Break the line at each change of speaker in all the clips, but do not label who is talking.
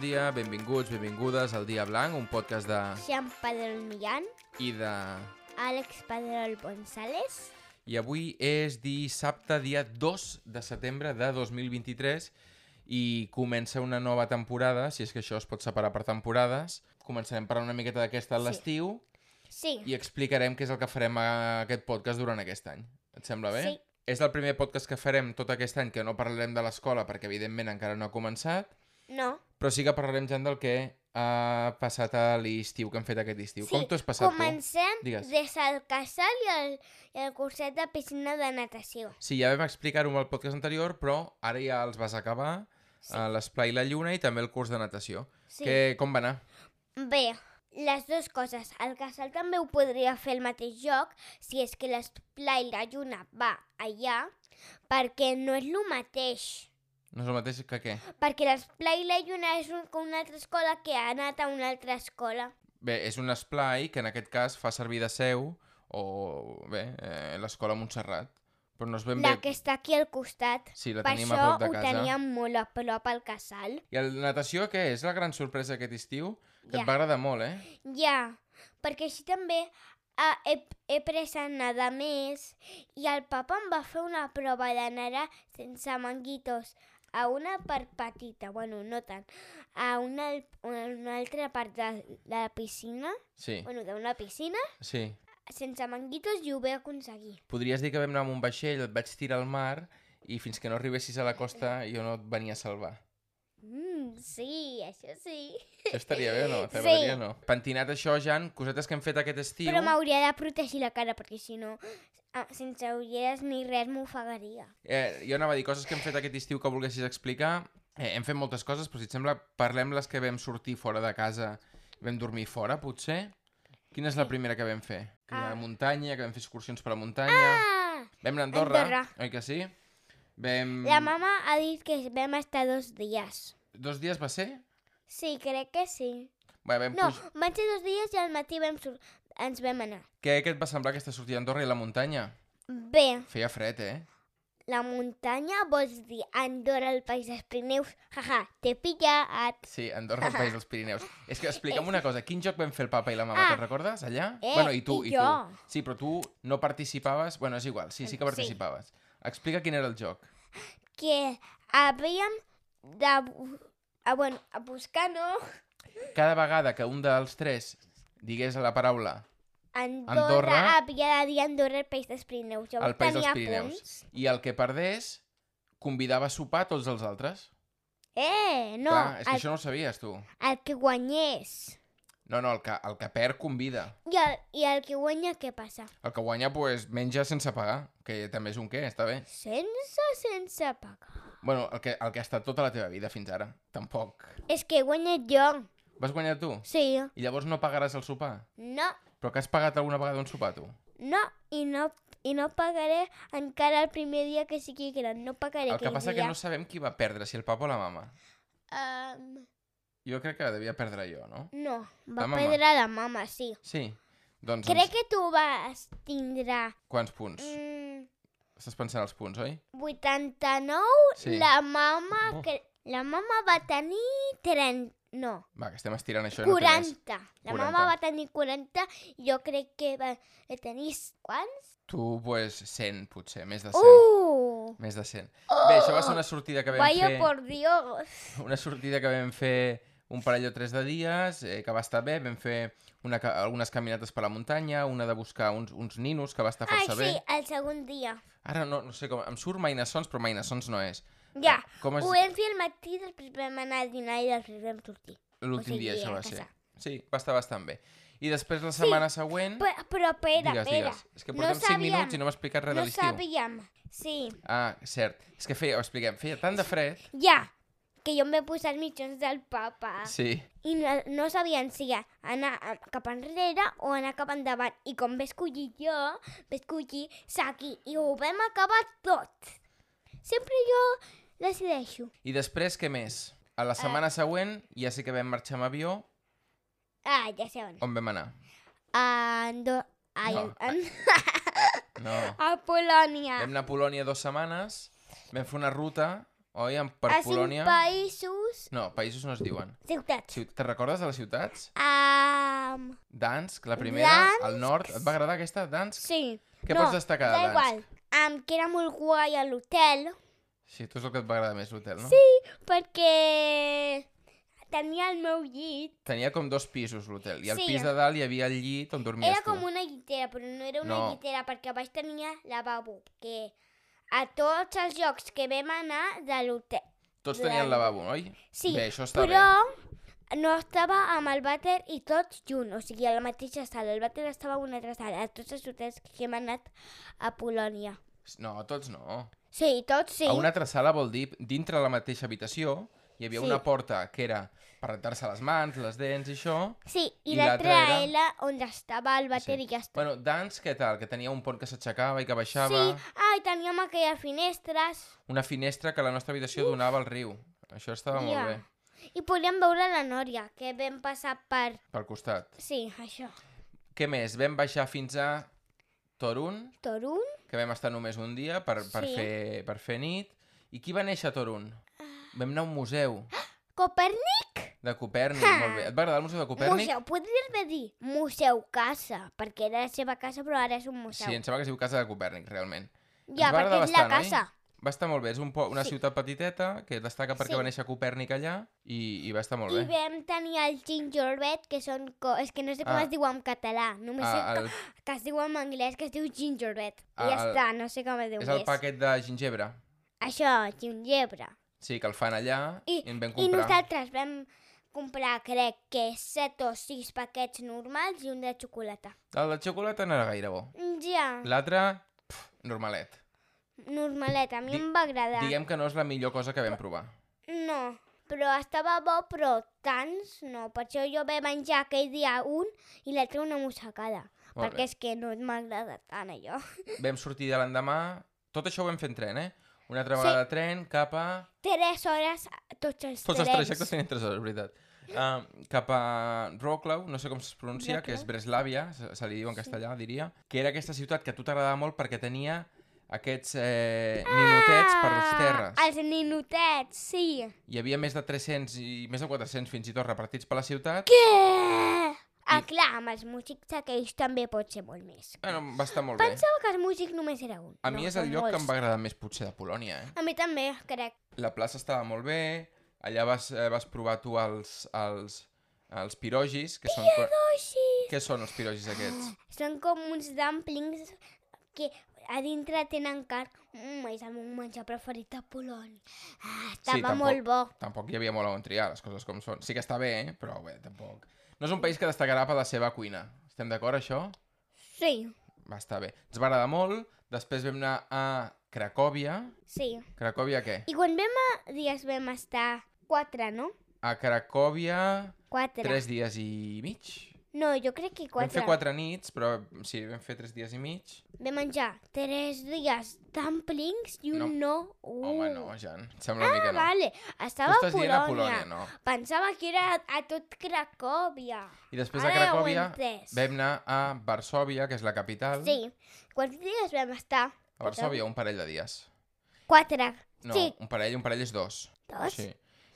dia, benvinguts, benvingudes al Dia Blanc, un podcast de...
Jean Padrón Millán,
i de...
Àlex Padrón González.
I avui és dissabte, dia 2 de setembre de 2023, i comença una nova temporada, si és que això es pot separar per temporades. Començarem parlant una miqueta d'aquesta a
Sí.
l'estiu
Sí,
i explicarem què és el que farem a aquest podcast durant aquest any. Et sembla bé?
Sí.
És el primer podcast que farem tot aquest any que no parlarem de l'escola perquè, evidentment, encara no ha començat,
no.
però sí que parlarem, Jan, del que ha passat a l'estiu, que hem fet aquest estiu.
Sí,
Com t'ho has passat, tu?
Comencem
Digues.
des del casal i el, i el curset de piscina de natació.
Sí, ja vam explicar-ho en el podcast anterior, però ara ja els vas acabar, sí. l'esplai i la lluna i també el curs de natació.
Sí.
Que, com va anar?
Bé, les dues coses. El casal també ho podria fer al mateix lloc si és que l'esplai i la lluna va allà, perquè no és el mateix.
No és el mateix que què?
Perquè l'esplai i la lluna és un, com una altra escola que ha anat a una altra escola.
Bé, és un esplai que en aquest cas fa servir de seu o, bé, eh, l'escola Montserrat. Però no es ben
La
bé...
que està aquí al costat.
Sí, la
per
tenim a
això
prop de
ho
casa.
teníem molt a prop al casal.
I la natació, què és? La gran sorpresa aquest estiu? Que
Ja.
et va agradar molt, eh?
Ja, perquè així també ah, he, he pres a nedar més i el papa em va fer una prova de nedar sense manguitos a una part petita, bueno, no tant, a una, al- a una altra part de la piscina,
Sí,
bueno, d'una piscina,
sí.
sense manguitos i ho vaig aconseguir.
podries dir que vam anar amb un vaixell, et vaig tirar al mar i fins que no arribessis a la costa jo no et venia a salvar.
Mm, sí, això sí.
Això estaria bé o no?
Sí.
T'agradaria o no? Pentinat això, Jan, cosetes que hem fet aquest estiu.
Però m'hauria de protegir la cara perquè si no, ah, sense ulleres ni res m'ofegaria.
Eh, jo anava a dir coses que hem fet aquest estiu que volguessis explicar. Eh, hem fet moltes coses, però si et sembla, parlem les que vam sortir fora de casa. Vam dormir fora, potser? Quina és la primera que vam fer? Que ah.
Ah.
a muntanya, que vam fer excursions per la muntanya...
Ah!
Vam anar a Andorra,
Andorra.
oi que sí? Vam...
La mama ha dit que vam estar dos dies.
Dos dies va ser?
Sí, crec que sí.
Bé, vam
No,
puj-
van ser dos dies i al matí vam sur... ens vam anar.
Què, què et va semblar aquesta sortida a Andorra i a la muntanya?
Bé,
Feia fred, eh?
la muntanya vols dir Andorra, el País dels Pirineus, jaja, t'he pillat.
Sí, Andorra, el País dels Pirineus. És que explica'm una cosa, quin joc van fer el papa i la mama,
Ah.
te'n recordes, allà?
Eh,
bueno, i tu,
i
i,
jo.
tu. Sí, però tu no participaves... Bueno, és igual, sí, sí que
Sí.
participaves. Explica quin era el joc.
Que havíem de... bu- Ah, bueno, a buscar, no?
Cada vegada que un dels tres digués la paraula
Andorra,
Andorra.
havia de dir Andorra, el País dels Pirineus. Jo
al País dels
tenia
Pirineus
punts.
i el que perdés convidava a sopar a tots els altres.
Eh, no,
Clar, és que
el,
això no ho sabies, tu.
el que guanyés.
No, no, el que, el que perd convida.
I el, I el que guanya, què passa?
El que guanya, pues, menja sense pagar, que també és un què, està bé.
Sense, sense pagar.
Bueno, el que, el que ha estat tota la teva vida fins ara. Tampoc.
És que he guanyat jo.
Vas guanyar tu?
Sí.
I llavors no pagaràs el sopar?
No,
Però que has pagat alguna vegada un sopar, tu?
no, i no, i no pagaré encara el primer dia que sigui gran. No pagaré
El que passa
dia.
que no sabem qui va perdre, si el papa o la mama.
Ehm,
Jo crec que devia perdre jo, no?
no,
La
va
mama.
perdre la mama, sí.
Sí. Doncs,
Crec
doncs
que tu vas tindrà
quants punts?
mm,
Estàs pensant els punts, oi?
89,
Sí.
la mama...
Bo.
Que, la mama va tenir 30... No,
Va, que estem estirant això i no té
40.
res.
La
40.
mama va tenir 40 i jo crec que va tenir... Quants?
Tu, pues, 100, potser, més de 100.
Uh!
Més de 100. Bé, això va ser una sortida que vam
Vaya
fer...
por Dios.
una sortida que vam fer un parell o tres de dies, eh, que va estar bé, vam fer una, ca- algunes caminates per la muntanya, una de buscar uns, uns ninos, que va estar
Ai,
força bé.
sí, el segon dia.
Ara no, no sé com... Em surt Mainasons, però Mainasons no és.
Ja,
Eh, Com és
ho vam fer al matí, després vam anar a dinar i després vam sortir.
l'últim
o sigui,
dia, això va
a casa.
ser. Sí, va estar bastant bé. I després la setmana següent...
Però, però espera,
Mm. digues,
espera.
digues. És que portem 5 minuts i no m'ha explicat res
no
de l'estiu.
sabíem, sí.
Ah, cert. És que feia, ho expliquem, feia tant de fred...
Ja, que jo em vaig posar els mitjons del papa.
Sí.
I no, no sabien si a- anar eh, cap enrere o anar cap endavant. I com vaig collir jo, vaig collir Saki. I ho vam acabar tot. Sempre jo decideixo.
I després, què més? A
Eh.
la setmana següent ja sí que vam marxar amb avió.
Ah, ja sé on. Ah,
On vam anar?
A Andorra. Ai,
Oh. No,
an-
No.
a Polònia. Ah.
Vam anar a Polònia dues setmanes, vam fer una ruta Oi? En, per
a
Polònia...
cinc països,
No, països no es diuen.
ciutats.
Ciut... Te recordes de les ciutats?
Um,
Dansk, la primera, al nord. Et va agradar aquesta, Dansk?
sí.
Què
no,
pots destacar de
Da
Dansk?
igual. Um, que era molt guai a l'hotel,
Sí, tu és el que et va agradar més, l'hotel, no?
Sí. perquè tenia el meu llit.
Tenia com dos pisos, l'hotel. I al
Sí.
pis de dalt hi havia el llit on dormies
Era
tu.
com una llitera, però no era una
No.
llitera, perquè a baix tenia lavabo, que a tots els llocs que vam anar de l'hotel.
Tots tenien lavabo, oi?
Sí,
Bé, això està
però no estava amb el vàter i tots junts, o sigui, a la mateixa sala. El vàter estava a una altra sala, a tots els hotels que hem anat a Polònia.
bé. No, tots no.
Sí, tots sí.
A una altra sala vol dir, dintre la mateixa habitació, hi havia
Sí.
una porta que era per rentar-se les mans, les dents i això.
Sí, i,
I
l'altra
l'altra era-
era on estava el vàter i ja està.
Bueno, Dans, què tal? Que tenia un pont que s'aixecava i que baixava.
Sí, ah, i teníem aquelles finestres.
Una finestra que la nostra habitació donava al riu. Això estava
ja.
molt bé,
I podíem veure la Nòria, que vam passar per...
pel costat.
Sí, això.
Què més? Vam baixar fins a Torun,
Torun?
que vam estar només un dia per, per,
Sí.
fer, per fer nit. I qui va néixer a Torun?
Ah.
Vam anar a un museu
Copernic?
de Copernic, molt bé. Et va agradar el museu de Copernic?
Museu, podries bé dir museu casa, perquè era la seva casa però ara és un museu.
Sí, em sembla que es diu Casa de Copernic, realment. ens
ja,
va
perquè
agradar
és la
bastant, oi?
casa.
Va estar molt bé, és un po una
Sí.
ciutat petiteta que destaca perquè
Sí.
va néixer Copernic allà i, i va estar molt
I
bé.
vam tenir el gingerbread, que són... Co... És que no sé com
Ah.
es diu en català, només sé
Ah,
que,
el,
que es diu en anglès, que es diu gingerbread.
Ah,
I ja
el-
està, no sé com es diu
és el
més.
paquet de gingebre.
Això, gingebre.
Sí, que el fan allà i,
I-
en vam
I
comprar.
nosaltres vam comprar, crec que 7 o 6 paquets normals i un de xocolata.
El de xocolata no era gaire bo.
Ja,
L'altre, pf, normalet.
normalet, a mi
Di-
em va agradar.
Diguem que no és la millor cosa que vam provar.
No, però estava bo, però tants no. Per això jo vaig menjar aquell dia un i l'altre una mossegada.
Molt
perquè és que no m'agrada tant allò.
Vam sortir de l'endemà... Tot això ho vam fer en tren, eh? Una altra vegada sí. tren cap a...
3 hores a tots els
Tots els
trens.
trajectes tenien 3 hores, veritat. Uh, cap a Wroclaw, no sé com es pronuncia, que és Breslàvia, se, se li diu en castellà, diria, que era aquesta ciutat que a tu t'agradava molt perquè tenia aquests eh, ninotets per les terres.
Ah, els ninotets, sí.
Hi havia més de 300 i més de 400 fins i tot repartits per la ciutat.
Què? Ah, clar, amb els músics aquells també pot ser molt més.
Bueno, va estar molt bé.
Pensava que el músic només era un.
A mi
no,
és el
són
lloc que
molts.
em va agradar més potser de Polònia, eh?
A mi també, crec.
La plaça estava molt bé, allà vas, eh, vas provar tu els, els, els pirogis, que són... co-
Oixi!
Què són els pirogis aquests?
Són com uns dumplings que a dintre tenen carn. Mm, és el meu menjar preferit de Polònia. Ah, estava
tampoc.
molt bo.
Tampoc hi havia molt on triar, les coses com són. Sí que està bé, eh? però bé, tampoc... No és un país que destacarà per la seva cuina. Estem d'acord, això?
Sí,
Va estar bé. Ens va agradar molt. Després vam anar a Cracòvia.
sí.
Cracòvia què?
I quan vam a dies vam estar quatre, no?
A Cracòvia...
Quatre.
Tres dies i mig.
No, jo crec que
Vam
quatre.
fer quatre nits, però sí, vam fer tres dies i mig.
Vam menjar tres dies dumplings i un no. Uh.
Home, no, Jan. Em sembla ah,
Ah,
que no.
vale.
Tu
Estava
estàs dient a Polònia,
Polònia.
no?
Pensava que era a tot Cracòvia.
I després de
Ara ja ho he
Cracòvia
entès.
vam anar a Varsovia, que és la capital.
Sí. Quants dies vam estar? Tota-
A Varsovia un parell de dies.
Quatre.
No,
Sí.
un parell, un parell és dos.
Dos?
Sí.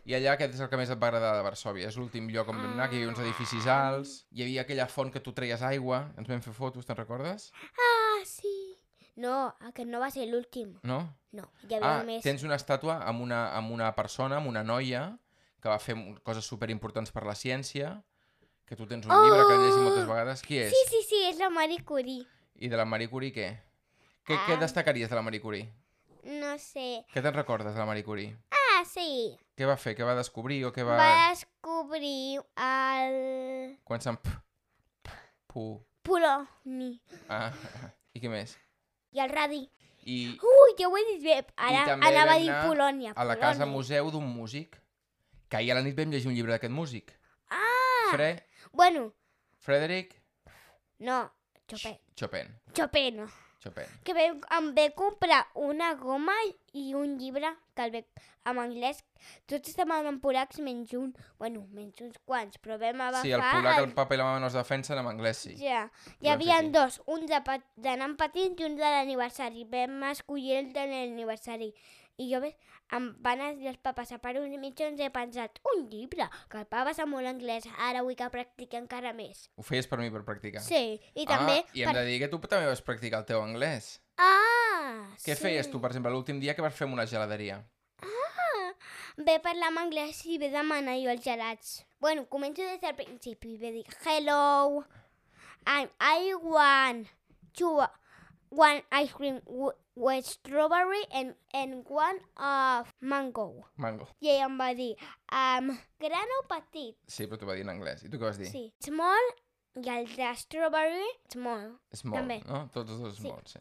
I allà aquest és el que més et va agradar de Varsovia. És l'últim lloc on vam anar, que hi havia
Ah.
uns edificis alts, hi havia aquella font que tu treies aigua, ens vam fer fotos, te'n recordes?
Ah, sí. No, aquest no va ser l'últim.
No?
No, hi havia
Ah,
només...
tens una estàtua amb una, amb una persona, amb una noia, que va fer mu- coses superimportants per la ciència, que tu tens un
Oh!
llibre que has llegit moltes vegades. Qui és?
Sí, sí, sí, és la Marie Curie.
I de la Marie Curie què? Què, què
Ah.
destacaries de la Marie Curie?
No sé.
Què te'n recordes de la Marie Curie?
Ah, sí.
Què va fer? Què va descobrir o què
Va,
va...
descobrir el...
Quan se'n... p- Pu...
Poloni
Ah, i què més?
i el radi.
I
Ui, ja ho he dit bé. Ara
també
anava a
vam
dir
anar
Polònia.
a la
Polònia.
casa museu d'un músic, que ahir a la nit vam llegir un llibre d'aquest músic. Ah! Fre...
Bueno,
Frederic
no, Chopin.
Chopin.
Chopin, no.
Chopin.
Que ve, em ve comprar una goma i un llibre que el ve en anglès. Tots estaven en polacs menys un. Bueno, menys uns quants, però vam agafar
Sí, el polac, el papa i la mama no es defensen en anglès, sí.
Ja, hi
fer
havia
així.
dos, un de, pe- de nen petit i un de l'aniversari. Vam escollir el de l'aniversari. i jo ves, em van a dir els papes a per uns mitjons he pensat, un llibre, que el papa sap molt anglès, ara vull que practiqui encara més.
Ho feies per mi, per practicar.
Sí, i també...
Ah, i hem de dir que tu també vas practicar el teu anglès.
Ah,
Què
sí.
feies tu, per exemple, l'últim dia que vas fer amb una geladeria?
Ve parlar en anglès i ve demanar jo els gelats. Bueno, començo des del principi. Ve dir, hello, I'm, I want two, one ice cream wi- with strawberry and, and one of mango.
Mango.
I ella em va dir, um, gran o petit?
Sí, però t'ho va dir en anglès. I tu què vas dir?
Sí. Small i el de strawberry, small.
Small,
també.
no? Tots els dos
Sí.
small, sí.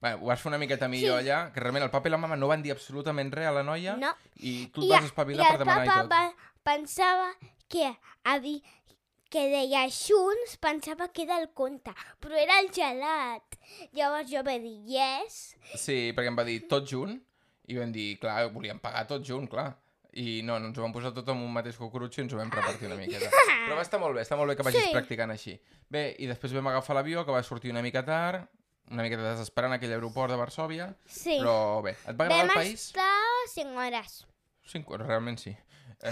Bé, ho vas fer una miqueta millor allà, que realment el papa i la mama no van dir absolutament res a la noia
No.
i tu et vas espavilar
i
per demanar
el
i
papa
tot.
va, pensava que havia que deia junts, pensava que era el conte, però era el gelat. Llavors jo vaig dir yes,
Sí, perquè em va dir tot junt i vam dir, clar, volíem pagar tot junt, clar. I no, no ens ho vam posar tot en un mateix cucurutxo i ens ho vam repartir una miqueta. Però va estar molt bé, està molt bé que vagis
Sí.
practicant així. Bé, i després vam agafar l'avió, que va sortir una mica tard, una miqueta desesperant aquell aeroport de Varsovia,
sí.
però bé, et va agradar
Vam
el país?
estar 5 hores.
Cinc, realment sí. Eh,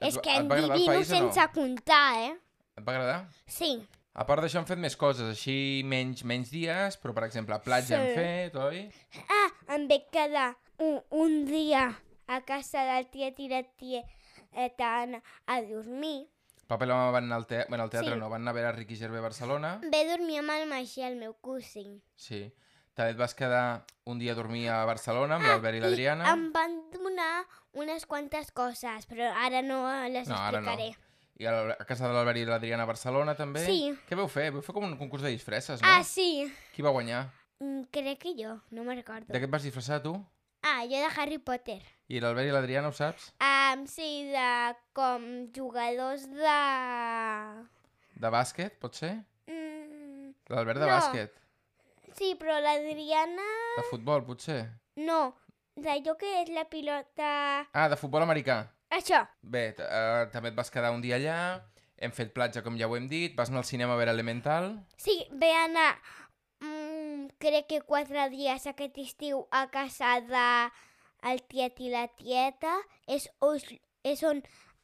És
va-
que
et va agradar el
endivino
país o no?
sense comptar, eh?
et va agradar?
Sí,
A part d'això hem fet més coses, així menys menys dies, però per exemple platja
Sí.
hem fet, oi?
Ah, em vaig quedar un, un dia a casa del tiet i la tieta Anna eh, a dormir.
Papa i la mama van anar al, te bueno, al teatre,
Sí.
no, van anar a veure Ricky Gervais a Barcelona.
Ve dormir amb el Magí, el meu cosí.
Sí. També et vas quedar un dia a dormir a Barcelona
Ah,
amb l'Albert i l'Adriana.
Em van donar unes quantes coses, però ara no les
No, ara no.
explicaré.
I a la- a casa de l'Albert i l'Adriana a Barcelona també.
Sí.
Què vau fer? Vau fer com un concurs de disfresses, no?
Ah, sí.
Qui va guanyar?
Mm, Crec que jo, no me'n recordo.
De què et vas disfressar tu?
Ah, jo de Harry Potter.
I l'Albert i l'Adriana ho saps?
Um, sí, de com jugadors de...
De bàsquet, pot ser?
Mm,
L'Albert de
No.
bàsquet?
sí, però l'Adriana...
De futbol, potser?
No, d'allò que és la pilota...
Ah, de futbol americà.
Això.
Bé, t- eh, també et vas quedar un dia allà, hem fet platja, com ja ho hem dit, vas anar al cinema a veure Elemental,
Sí, ve anar, mm, crec que quatre dies aquest estiu a casa de el tiet i la tieta. És, os, és on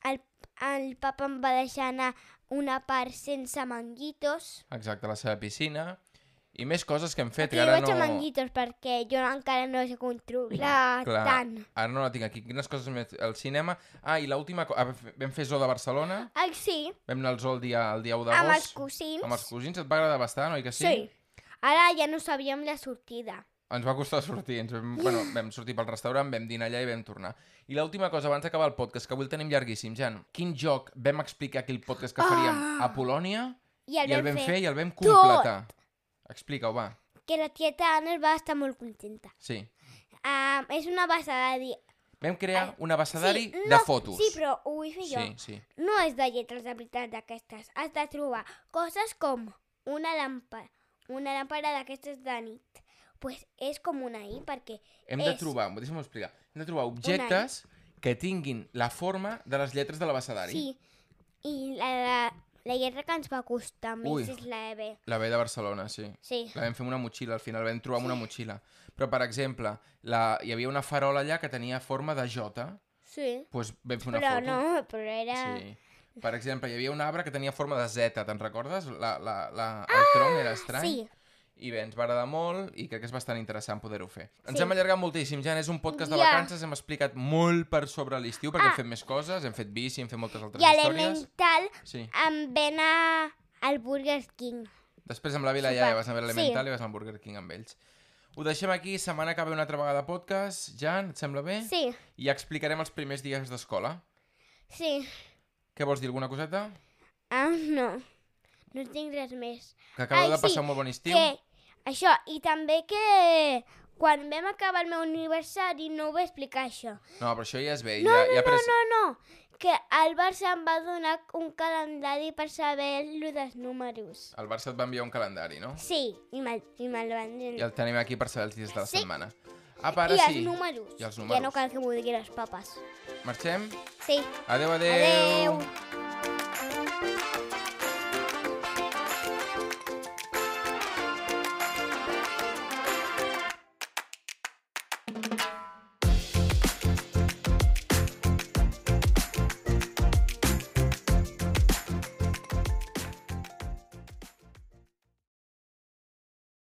el, el papa em va deixar anar una part sense manguitos.
exacte, a la seva piscina, i més coses que hem fet,
Aquí
que ara
vaig
no...
a manguitos perquè jo encara no sé controlar
Clar,
tant.
ara no la tinc aquí. Quines coses més? El cinema... Ah, i l'última... co- ah, Vam fer zoo de Barcelona,
Ai, sí,
vam anar al zoo el dia, el dia 1 d'agost.
amb els cosins.
Amb els cosins, et va agradar bastant, oi que sí?
sí. Ara ja no sabíem la sortida.
Ens va costar sortir, ens vam, bueno,
Ah!
vam sortir pel restaurant, vam dinar allà i vam tornar. I l'última cosa, abans d'acabar el podcast, que avui el tenim llarguíssim, Jan, quin joc vam explicar aquí el podcast que faríem a Polònia
I Ah!
I
el,
el
vam
vam fer i el vam
tot.
completar. Explica-ho, va.
que la tieta Anna va estar molt contenta.
Sí.
Um, és una base de dir...
Vam crear un abecedari
Eh, sí, no,
de fotos.
Sí, però ho vull fer jo.
sí, sí.
No és de lletres de veritat d'aquestes. Has de trobar coses com una làmpara, una làmpara d'aquestes de nit. pues és com una I perquè
Hem de
és-
trobar, deixa'm explicar, hem de trobar objectes que tinguin la forma de les lletres de l'abecedari.
sí. I la, la, la lletra que ens va costar més
Ui.
és la E B.
La B de Barcelona, sí.
Sí.
La vam fer amb una motxilla, al final vam trobar amb una motxilla. Però, per exemple, la... hi havia una farola allà que tenia forma de J,
Sí.
doncs vam fer una
Però
foto.
no, però era...
Sí. Per exemple, hi havia un arbre que tenia forma de Z, te'n recordes? La, la, la... El tronc era estrany.
Ah, sí.
I bé, ens va agradar molt i crec que és bastant interessant poder-ho fer. Ens
Sí.
hem allargat moltíssim, Jan, és un podcast de
Ja.
vacances, hem explicat molt per sobre l'estiu perquè
Ah.
hem fet més coses, hem fet bici, hem fet moltes altres
I a
històries.
l'Elemental
Sí.
em ve anar al Burger King.
Després amb la Vila
Sopar.
ja vas anar a veure
Sí.
l'Elemental i vas anar al Burger King amb ells. Ho deixem aquí, setmana que ve una altra vegada podcast. Jan, et sembla bé?
Sí,
I explicarem els primers dies d'escola.
sí.
Què vols dir, alguna coseta?
Ah, no. No tinc res més.
Que acabeu
Ai,
de passar
sí,
un molt bon estiu.
Que, això, i també que quan vam acabar el meu aniversari no ho vaig explicar això.
No, però això ja és bé.
No,
ja,
no,
ja ha pres...
no, no, no, que el Barça em va donar un calendari per saber lo dels números.
El Barça et va enviar un calendari, no?
Sí, i me'l me van dir.
I el tenim aquí per saber els dies de la
Sí.
setmana. Apa, ara
I els
sí.
números.
I els
Ja no
números.
cal que m'ho diguin els papes.
Marxem?
Sí.
Adeu, adeu.
Adeu.